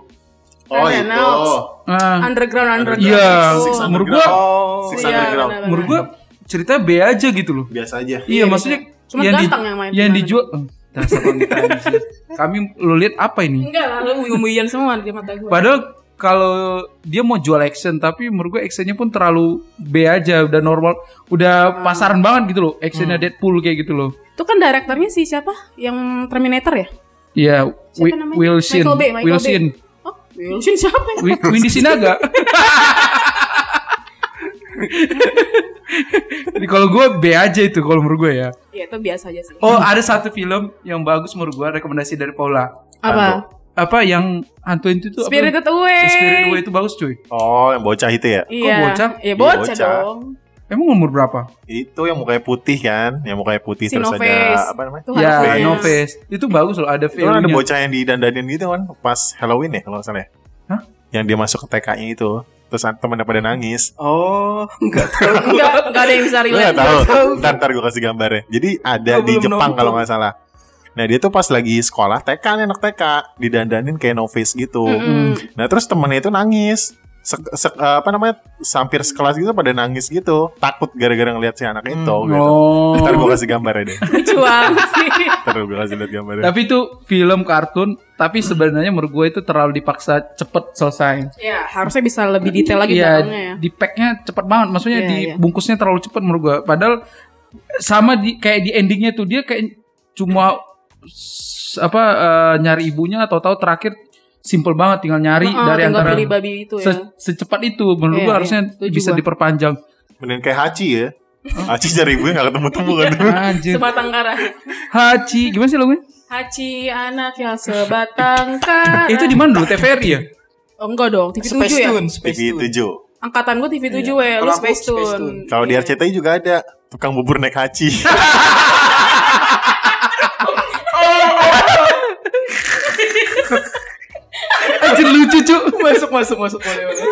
[SPEAKER 3] Oh itu.
[SPEAKER 4] Ryan Reynolds.
[SPEAKER 2] Ah,
[SPEAKER 4] Underground, underground.
[SPEAKER 2] Iya,
[SPEAKER 3] Six
[SPEAKER 4] Oh.
[SPEAKER 2] menurut gua
[SPEAKER 1] Oh.
[SPEAKER 3] Six
[SPEAKER 4] Iya,
[SPEAKER 3] Underground.
[SPEAKER 4] benar-benar.
[SPEAKER 2] menurut gua ceritanya B aja gitu loh.
[SPEAKER 3] Biasa
[SPEAKER 2] Iya,
[SPEAKER 3] aja.
[SPEAKER 4] Iya,
[SPEAKER 2] maksudnya
[SPEAKER 4] Cuma
[SPEAKER 2] yang di-
[SPEAKER 4] ganteng yang main.
[SPEAKER 2] yang
[SPEAKER 4] pemerannya.
[SPEAKER 2] dijual eh, dasar wanita anjing. Kami lo lihat apa ini?
[SPEAKER 4] Enggak lah, lu uyum-uyuan semua di mata gue.
[SPEAKER 2] Padahal kalau dia mau jual action tapi menurut gua actionnya pun terlalu B aja udah normal
[SPEAKER 4] Ah.
[SPEAKER 2] udah pasaran banget gitu loh actionnya
[SPEAKER 4] Hmm.
[SPEAKER 2] Deadpool kayak gitu loh
[SPEAKER 4] Itu kan direkturnya si siapa? Yang Terminator ya?
[SPEAKER 2] Iya,
[SPEAKER 4] Siapa
[SPEAKER 2] Wi-
[SPEAKER 4] namanya?
[SPEAKER 2] Wilson,
[SPEAKER 4] Michael Bay, Michael
[SPEAKER 2] Wilson,
[SPEAKER 4] Oh, Wilson siapa ya?
[SPEAKER 2] Wi- Windy Sinaga. Jadi kalau gue B aja itu kalau menurut gue ya.
[SPEAKER 4] Ya itu biasa aja sih.
[SPEAKER 2] Oh ada satu film yang bagus menurut gue rekomendasi dari Paula.
[SPEAKER 4] Apa?
[SPEAKER 2] Apa yang hantu itu tuh?
[SPEAKER 4] Spirited
[SPEAKER 2] Apa? Eh,
[SPEAKER 4] Away.
[SPEAKER 2] Spirit Away itu bagus cuy.
[SPEAKER 3] Oh, yang bocah itu ya?
[SPEAKER 4] Iya.
[SPEAKER 2] bocah?
[SPEAKER 4] Iya,
[SPEAKER 3] Iya,
[SPEAKER 4] bocah,
[SPEAKER 3] bocah.
[SPEAKER 4] dong.
[SPEAKER 2] Emang umur berapa?
[SPEAKER 3] Itu yang mukanya putih kan? Yang mukanya putih
[SPEAKER 4] Si
[SPEAKER 3] terus
[SPEAKER 4] Noves.
[SPEAKER 3] ada apa namanya?
[SPEAKER 4] Tuh
[SPEAKER 2] ya,
[SPEAKER 3] Face.
[SPEAKER 4] harusnya.
[SPEAKER 2] No Face. Itu bagus loh, ada
[SPEAKER 3] Itu kan ada
[SPEAKER 2] value-nya.
[SPEAKER 3] bocah yang didandanin gitu kan pas Halloween ya kalau nggak salah. ya?
[SPEAKER 2] Hah?
[SPEAKER 3] Yang dia masuk ke TK-nya itu. Terus temennya pada nangis.
[SPEAKER 1] Oh, enggak
[SPEAKER 4] Enggak, enggak ada yang bisa
[SPEAKER 3] Gue gak
[SPEAKER 4] relate.
[SPEAKER 3] Iya, tahu.
[SPEAKER 1] tahu.
[SPEAKER 3] Ntar, ntar gue kasih gambarnya. Jadi ada
[SPEAKER 2] Gua
[SPEAKER 3] di
[SPEAKER 2] belum
[SPEAKER 3] Jepang
[SPEAKER 2] nonton.
[SPEAKER 3] kalau nggak salah. Nah dia tuh pas lagi sekolah TK nih anak TK didandanin kayak novice gitu.
[SPEAKER 4] Mm-mm.
[SPEAKER 3] Nah terus temennya itu nangis. Sek- sek- eh, apa namanya sampir sekelas gitu pada nangis gitu takut gara-gara ngeliat si anak itu gitu.
[SPEAKER 2] Oh.
[SPEAKER 3] Ntar gue kasih gambarnya deh.
[SPEAKER 4] Lucu banget sih.
[SPEAKER 3] Ntar gue kasih lihat gambarnya.
[SPEAKER 2] Tapi itu film kartun, tapi sebenarnya menurut gue itu terlalu dipaksa cepet selesai.
[SPEAKER 4] Ya, harusnya bisa lebih detail lagi
[SPEAKER 2] Iya,
[SPEAKER 4] belakangnya ya.
[SPEAKER 2] di packnya cepet banget. Maksudnya
[SPEAKER 4] Iya,
[SPEAKER 2] di
[SPEAKER 4] iya.
[SPEAKER 2] bungkusnya terlalu cepet menurut gua. Padahal sama di kayak di endingnya tuh dia kayak cuma s- apa eh, nyari ibunya atau tahu terakhir simple banget tinggal nyari
[SPEAKER 4] Heeh,
[SPEAKER 2] dari
[SPEAKER 4] tinggal
[SPEAKER 2] antara
[SPEAKER 4] beli babi itu ya.
[SPEAKER 2] se- secepat itu menurut
[SPEAKER 4] Iya,
[SPEAKER 2] gua
[SPEAKER 4] iya,
[SPEAKER 2] harusnya
[SPEAKER 4] setuju
[SPEAKER 2] bisa
[SPEAKER 4] gua.
[SPEAKER 2] diperpanjang.
[SPEAKER 3] Mending kayak Hachi ya. Hachi cari gue gak ketemu-temu kan.
[SPEAKER 2] Anjir.
[SPEAKER 4] Sebatang kara.
[SPEAKER 2] Haji gimana sih lagunya?
[SPEAKER 4] Haji anak yang sebatang kara.
[SPEAKER 2] Itu di mana dulu TVR ya?
[SPEAKER 4] Oh, enggak dong, TV 7
[SPEAKER 1] Space
[SPEAKER 4] ya?
[SPEAKER 1] Tune, Space
[SPEAKER 2] gitu
[SPEAKER 3] TV
[SPEAKER 1] Tune.
[SPEAKER 3] 7.
[SPEAKER 4] Angkatan gue TV 7 ya, lu
[SPEAKER 1] Kalau aku
[SPEAKER 4] Space
[SPEAKER 1] Space
[SPEAKER 4] Tune. Iya.
[SPEAKER 1] Tune.
[SPEAKER 3] Kalau di RCTI juga ada. Tukang bubur naik Hachi.
[SPEAKER 2] Anjir lucu cuy.
[SPEAKER 1] Masuk masuk masuk boleh boleh.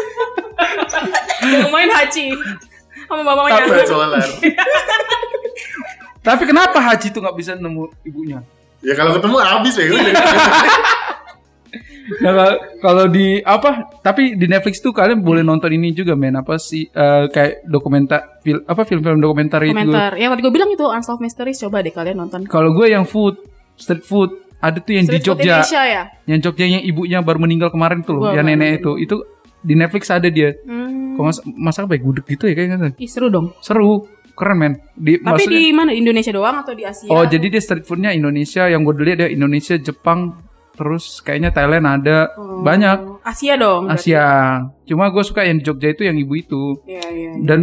[SPEAKER 4] Yang main Haji. Sama mamanya.
[SPEAKER 2] Apa? Tapi kenapa Haji tuh nggak bisa nemu ibunya?
[SPEAKER 3] ya kalau ketemu habis ya.
[SPEAKER 2] Nah, kal- kalau di apa? Tapi di Netflix tuh kalian boleh nonton ini juga men apa sih eh, kayak dokumenter fil, apa film-film dokumenter itu.
[SPEAKER 4] Komentar. Yang tadi gue bilang itu Unsolved Mysteries coba deh kalian nonton.
[SPEAKER 2] Kalau gue yang food, street food, ada tuh yang di
[SPEAKER 4] Street Food
[SPEAKER 2] Jogja,
[SPEAKER 4] Indonesia ya.
[SPEAKER 2] yang Jogja yang ibunya baru meninggal kemarin tuh loh,
[SPEAKER 4] Gua
[SPEAKER 2] yang
[SPEAKER 4] nggak
[SPEAKER 2] nenek itu. Itu di Netflix ada dia.
[SPEAKER 4] Hmm.
[SPEAKER 2] Kok mas masak apa ya? gudeg gitu ya kayaknya.
[SPEAKER 4] Ih, seru dong.
[SPEAKER 2] Seru, keren men. Di
[SPEAKER 4] Tapi
[SPEAKER 2] maksudnya-
[SPEAKER 4] di ya. mana? Di Indonesia doang atau di Asia?
[SPEAKER 2] Oh, jadi dia street foodnya Indonesia yang gue lihat dia Indonesia, Jepang, terus kayaknya Thailand ada
[SPEAKER 4] Oh.
[SPEAKER 2] banyak.
[SPEAKER 4] Asia dong. berarti.
[SPEAKER 2] Asia. Cuma gue suka yang di Jogja itu yang ibu itu
[SPEAKER 4] Iya, iya. iya.
[SPEAKER 2] dan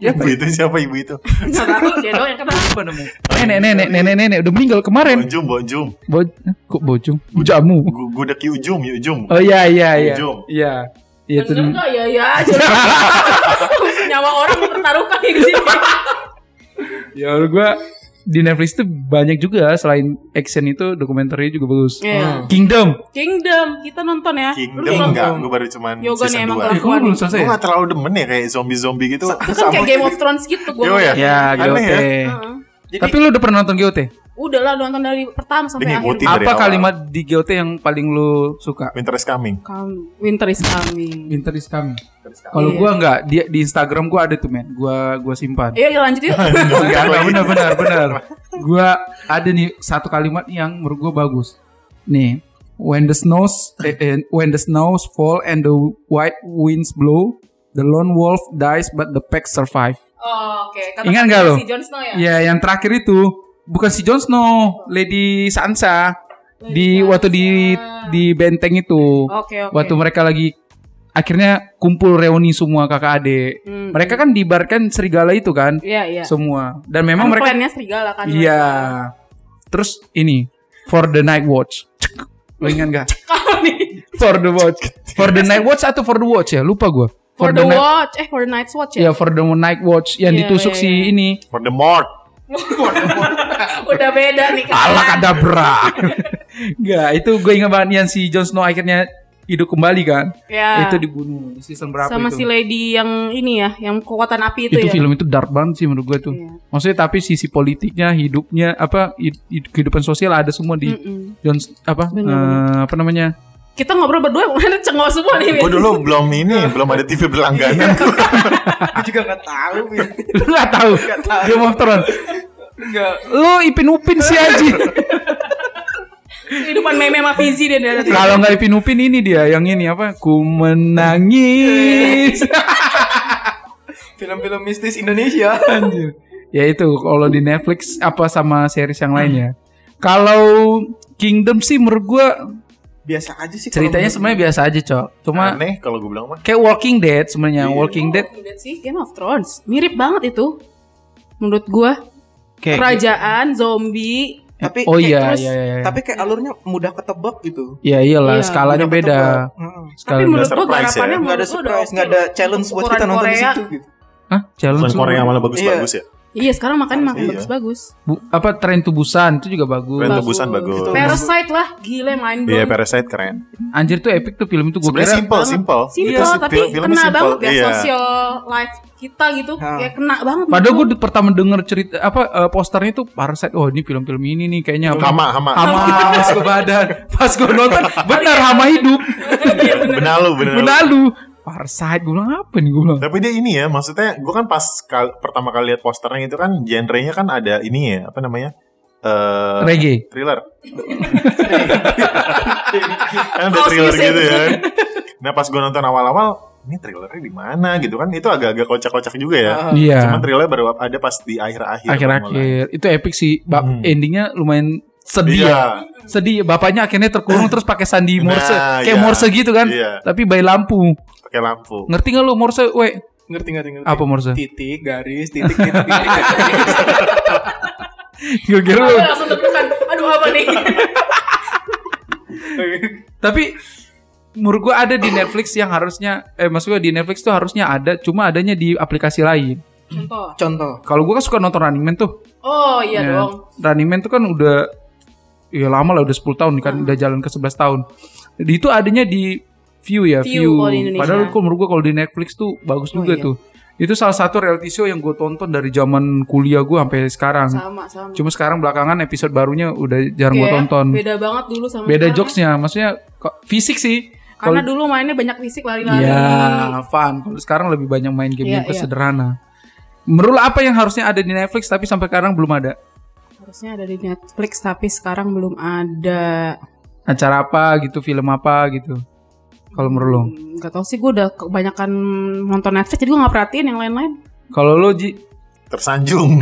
[SPEAKER 2] ya
[SPEAKER 3] Ibu itu siapa ibu itu?
[SPEAKER 4] Nggak tahu, dia doang yang kenal.
[SPEAKER 2] apa nemu? Nenek nenek nenek nenek udah meninggal kemarin.
[SPEAKER 3] Bonjum, bonjum.
[SPEAKER 2] Bo kok bojong? Jamu.
[SPEAKER 3] Gu- ya, Gudeg yujum, yujum.
[SPEAKER 2] Oh iya iya iya.
[SPEAKER 3] Bojong.
[SPEAKER 2] Iya. Iya itu.
[SPEAKER 4] Bener nggak? Ya, ya aja. Nyawa orang dipertaruhkan ya di sini.
[SPEAKER 2] Ya menurut gua di Netflix tuh banyak juga selain action itu dokumenternya juga bagus.
[SPEAKER 4] Iya.
[SPEAKER 2] Kingdom.
[SPEAKER 4] Kingdom, kita nonton ya. Lu
[SPEAKER 3] Kingdom
[SPEAKER 4] nonton?
[SPEAKER 3] enggak? Gue baru cuman
[SPEAKER 4] Yoga nih
[SPEAKER 3] season
[SPEAKER 4] emang
[SPEAKER 3] 2.
[SPEAKER 4] kelar.
[SPEAKER 2] Eh, kamu belum selesai.
[SPEAKER 3] Gue
[SPEAKER 2] ya?
[SPEAKER 3] gak terlalu demen ya kayak zombie-zombie gitu.
[SPEAKER 4] Itu kan kayak Game of Thrones gitu gue.
[SPEAKER 3] Yo, ya?
[SPEAKER 2] Ya,
[SPEAKER 3] Aneh
[SPEAKER 2] GOT.
[SPEAKER 3] ya.
[SPEAKER 4] Heeh.
[SPEAKER 2] Tapi lu udah pernah nonton GOT?
[SPEAKER 4] Udah lah nonton dari pertama sampai
[SPEAKER 3] Dia
[SPEAKER 4] akhir.
[SPEAKER 3] ngikutin. Dari
[SPEAKER 2] Apa
[SPEAKER 3] awal.
[SPEAKER 2] kalimat di GOT yang paling lu suka?
[SPEAKER 3] Winter is coming.
[SPEAKER 4] Come, winter is coming.
[SPEAKER 2] Winter is coming. Kalau gua enggak, dia di Instagram gua ada tuh men. Gua gua simpan.
[SPEAKER 4] Ayo yuk, Iya, lanjut yuk.
[SPEAKER 3] Enggak
[SPEAKER 2] Benar, benar,
[SPEAKER 3] lagi.
[SPEAKER 2] Iya, benar, benar. Gua ada nih satu kalimat yang menurut gua bagus. Nih, when the snows eh, eh, when the snows fall and the white winds blow, the lone wolf dies but the pack survive.
[SPEAKER 4] Oh, Oke, Kata-kata
[SPEAKER 2] Ingat nggak lu?
[SPEAKER 4] Si Jon Snow ya.
[SPEAKER 2] Ya, yang terakhir itu bukan si Jon Snow, Lady Sansa di waktu di di benteng itu.
[SPEAKER 4] Oke, oke.
[SPEAKER 2] Waktu mereka lagi akhirnya kumpul reuni semua kakak adik.
[SPEAKER 4] Hmm.
[SPEAKER 2] Mereka kan diibaratkan serigala itu kan
[SPEAKER 4] Iya, iya.
[SPEAKER 2] semua. Dan memang
[SPEAKER 4] Emang
[SPEAKER 2] mereka
[SPEAKER 4] plannya serigala kan.
[SPEAKER 2] Iya. Terus ini for the night watch. Cek. Lo ingat gak?
[SPEAKER 4] Kalau nih,
[SPEAKER 2] For the watch. For the night watch atau for the watch ya? Lupa gue.
[SPEAKER 4] for the
[SPEAKER 2] night.
[SPEAKER 4] watch, eh for the night's watch
[SPEAKER 2] Ya
[SPEAKER 4] ya.
[SPEAKER 2] for the night watch yang
[SPEAKER 4] Iya,
[SPEAKER 2] ditusuk
[SPEAKER 4] iya,
[SPEAKER 2] si
[SPEAKER 4] iya.
[SPEAKER 2] ini.
[SPEAKER 3] For the mort.
[SPEAKER 4] Udah beda nih kan.
[SPEAKER 2] Alakadabra. Enggak, itu gue ingat banget yang si Jon Snow akhirnya hidup kembali kan?
[SPEAKER 4] Ya.
[SPEAKER 2] Itu dibunuh season berapa
[SPEAKER 4] sama si
[SPEAKER 2] itu?
[SPEAKER 4] lady yang ini ya, yang kekuatan api itu,
[SPEAKER 2] itu
[SPEAKER 4] ya.
[SPEAKER 2] film itu dark banget sih menurut gue tuh.
[SPEAKER 4] Iya.
[SPEAKER 2] Maksudnya tapi sisi politiknya, hidupnya apa hid- hid- kehidupan sosial ada semua di
[SPEAKER 4] Mm-mm.
[SPEAKER 2] John apa
[SPEAKER 4] Benar.
[SPEAKER 2] eh, apa namanya
[SPEAKER 4] Kita ngobrol berdua kemarin cengok semua nih.
[SPEAKER 3] Gue dulu belum ini, belum ada TV berlangganan.
[SPEAKER 1] Aku juga nggak tahu. Bin.
[SPEAKER 2] lu nggak tahu Game of Thrones lu ipin upin si Aji
[SPEAKER 4] Kehidupan meme sama Fizi dia dari tadi.
[SPEAKER 2] kalau nggak ipin upin ini dia yang ini apa ku menangis
[SPEAKER 1] Film-film mistis Indonesia.
[SPEAKER 2] Anjir. ya itu kalau di Netflix apa sama series yang lainnya kalau Kingdom sih menurut gua
[SPEAKER 1] Biasa aja sih. kalau
[SPEAKER 2] ceritanya
[SPEAKER 1] menurut-
[SPEAKER 2] sebenarnya biasa aja cok cuma
[SPEAKER 3] Aneh kalau gue bilang mah.
[SPEAKER 2] kayak Walking Dead sebenarnya Walking Dead
[SPEAKER 4] Walking Dead sih Game of Thrones. Mirip banget itu. Menurut gua
[SPEAKER 2] kayak
[SPEAKER 4] kerajaan zombie
[SPEAKER 1] Tapi
[SPEAKER 2] oh
[SPEAKER 1] kayak
[SPEAKER 2] iya,
[SPEAKER 1] terus-
[SPEAKER 2] iya, iya, iya.
[SPEAKER 1] Tapi kayak alurnya mudah ketebak gitu.
[SPEAKER 2] ya iyalah
[SPEAKER 4] Iya,
[SPEAKER 2] skalanya
[SPEAKER 1] Mudah
[SPEAKER 2] beda
[SPEAKER 1] ketebak. Heeh.
[SPEAKER 2] skala
[SPEAKER 4] tapi menurut
[SPEAKER 2] beda
[SPEAKER 4] gua
[SPEAKER 3] surprise ya.
[SPEAKER 4] harapannya
[SPEAKER 1] Nggak ada
[SPEAKER 4] menurut gua udah
[SPEAKER 1] surprise,
[SPEAKER 4] oke
[SPEAKER 1] nggak ada
[SPEAKER 4] loh.
[SPEAKER 1] challenge buat
[SPEAKER 4] Ukuran
[SPEAKER 1] kita nonton di
[SPEAKER 4] Korea.
[SPEAKER 1] situ gitu.
[SPEAKER 2] Hah? jalan
[SPEAKER 3] Bukan
[SPEAKER 2] semua.
[SPEAKER 3] Korea malah bagus-bagus ya.
[SPEAKER 4] Iya sekarang makan makan
[SPEAKER 3] Iya.
[SPEAKER 4] bagus-bagus.
[SPEAKER 2] Bu- apa tren tubusan itu juga bagus
[SPEAKER 3] Keren tebusan bagus.
[SPEAKER 1] Gitu.
[SPEAKER 4] Parasite lah, gila main
[SPEAKER 3] Iya,
[SPEAKER 4] blown.
[SPEAKER 3] Parasite keren.
[SPEAKER 2] anjir tuh epic tuh film itu gue
[SPEAKER 3] Sebenarnya
[SPEAKER 2] kira
[SPEAKER 3] simple, simple.
[SPEAKER 4] Simple
[SPEAKER 1] Iya,
[SPEAKER 3] Itu sih,
[SPEAKER 4] tapi
[SPEAKER 3] film- filmnya
[SPEAKER 4] kena
[SPEAKER 3] simple.
[SPEAKER 4] banget ya
[SPEAKER 3] Iya.
[SPEAKER 4] social life kita gitu,
[SPEAKER 1] Ha.
[SPEAKER 4] kayak kena banget.
[SPEAKER 2] Padahal gue pertama denger cerita apa eh, posternya tuh Parasite. Oh ini film-film ini nih kayaknya apa?
[SPEAKER 3] Hama, hama.
[SPEAKER 2] Hama pas ke badan. Pas gue nonton benar hama hidup.
[SPEAKER 3] Benalu, benalu.
[SPEAKER 2] Benalu. Parasite gue bilang apa nih gue bilang.
[SPEAKER 3] Tapi dia ini ya, maksudnya gue kan pas kal- pertama kali lihat posternya itu kan genrenya kan ada ini ya, apa namanya? Eh
[SPEAKER 2] Reggae.
[SPEAKER 3] thriller. kan ada
[SPEAKER 4] House
[SPEAKER 3] thriller
[SPEAKER 4] music.
[SPEAKER 3] gitu ya. Nah, pas gue nonton awal-awal, ini thrillernya di mana gitu kan? Itu agak-agak kocak-kocak juga ya.
[SPEAKER 1] Heeh.
[SPEAKER 2] Iya.
[SPEAKER 3] Cuman thrillernya baru ada pas di akhir-akhir. Iya, mulai.
[SPEAKER 2] Akhir-akhir itu epic sih. Ba-
[SPEAKER 3] Hmm.
[SPEAKER 2] Endingnya lumayan sedih
[SPEAKER 3] Iya.
[SPEAKER 2] ya. Sedih. Bapaknya akhirnya terkurung terus pakai sandi
[SPEAKER 3] Nah,
[SPEAKER 2] Morse. Kayak
[SPEAKER 3] iya.
[SPEAKER 2] Morse gitu kan.
[SPEAKER 3] Iya.
[SPEAKER 2] Tapi by lampu.
[SPEAKER 3] Pakai lampu.
[SPEAKER 2] Ngerti gak lu Morse? Weh,
[SPEAKER 1] Ngerti ngerti ngerti.
[SPEAKER 2] apa Morse?
[SPEAKER 3] Iya.
[SPEAKER 1] Titik, garis, titik, titik, titik, titik.
[SPEAKER 2] Gue kira
[SPEAKER 4] Aduh,
[SPEAKER 2] lu
[SPEAKER 4] langsung deg-degan. Aduh apa nih?
[SPEAKER 2] Tapi menurut gua ada di Netflix yang harusnya eh maksud gua di Netflix tuh harusnya ada cuma adanya di aplikasi lain.
[SPEAKER 4] Contoh.
[SPEAKER 1] Contoh.
[SPEAKER 2] Kalau gua kan suka nonton Running Man tuh.
[SPEAKER 4] Oh iya
[SPEAKER 2] Ya,
[SPEAKER 4] dong.
[SPEAKER 2] Running Man tuh kan udah ya lama lah udah 10 tahun
[SPEAKER 4] Ah.
[SPEAKER 2] kan udah jalan ke 11 tahun. Di itu adanya di View ya,
[SPEAKER 4] View
[SPEAKER 2] View.
[SPEAKER 4] kalau di Indonesia. Oh, iya.
[SPEAKER 2] Padahal kalau menurut gua kalau di Netflix tuh bagus juga tuh. Itu salah satu reality show yang gue tonton dari zaman kuliah gua sampai sekarang.
[SPEAKER 4] Sama sama.
[SPEAKER 2] Cuma sekarang belakangan episode barunya udah jarang
[SPEAKER 4] Kayak
[SPEAKER 2] gua tonton. Beda,
[SPEAKER 4] Beda banget dulu sama sekarang.
[SPEAKER 2] jokesnya, maksudnya kok- fisik sih. Kalau
[SPEAKER 4] Karena dulu mainnya banyak fisik lari-lari.
[SPEAKER 2] Iya, fun. Kalau sekarang lebih banyak main game-game
[SPEAKER 4] Iya, iya.
[SPEAKER 2] sederhana. Menurut lo apa yang harusnya ada di Netflix tapi sampai sekarang belum ada?
[SPEAKER 4] Harusnya ada di Netflix tapi sekarang belum ada.
[SPEAKER 2] Acara apa gitu, film apa gitu? Kalau menurut lo?
[SPEAKER 4] Hmm, Gak tau sih gue udah kebanyakan nonton Netflix jadi gue gak perhatiin yang lain-lain.
[SPEAKER 2] Kalau lo Ji,
[SPEAKER 3] Tersanjung.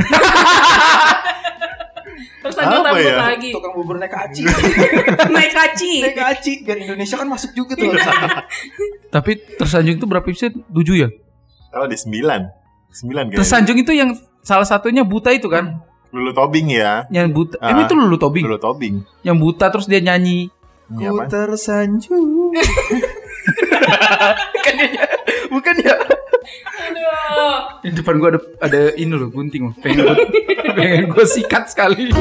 [SPEAKER 4] Terus ada
[SPEAKER 3] Apa
[SPEAKER 4] rambut
[SPEAKER 3] ya?
[SPEAKER 4] lagi.
[SPEAKER 1] Tukang bubur naik aci.
[SPEAKER 4] Naik kaci.
[SPEAKER 1] naik aci biar Indonesia kan masuk juga tuh. alasannya.
[SPEAKER 2] tapi tersanjung itu berapa episode? 7 ya?
[SPEAKER 3] Kalau di sembilan. Sembilan kayaknya.
[SPEAKER 2] Tersanjung itu yang salah satunya buta itu kan?
[SPEAKER 3] Lulu Tobing ya.
[SPEAKER 2] Yang buta.
[SPEAKER 3] Ah.
[SPEAKER 2] Ini tuh Lulu Tobing.
[SPEAKER 3] Lulu Tobing.
[SPEAKER 2] Yang buta terus dia nyanyi.
[SPEAKER 3] Ini
[SPEAKER 1] Ku
[SPEAKER 3] apa?
[SPEAKER 1] tersanjung. Bukan ya. Bukan ya.
[SPEAKER 4] Aduh.
[SPEAKER 2] Di depan gua ada ada ini loh gunting loh. Pengen gua, pengen gua sikat sekali.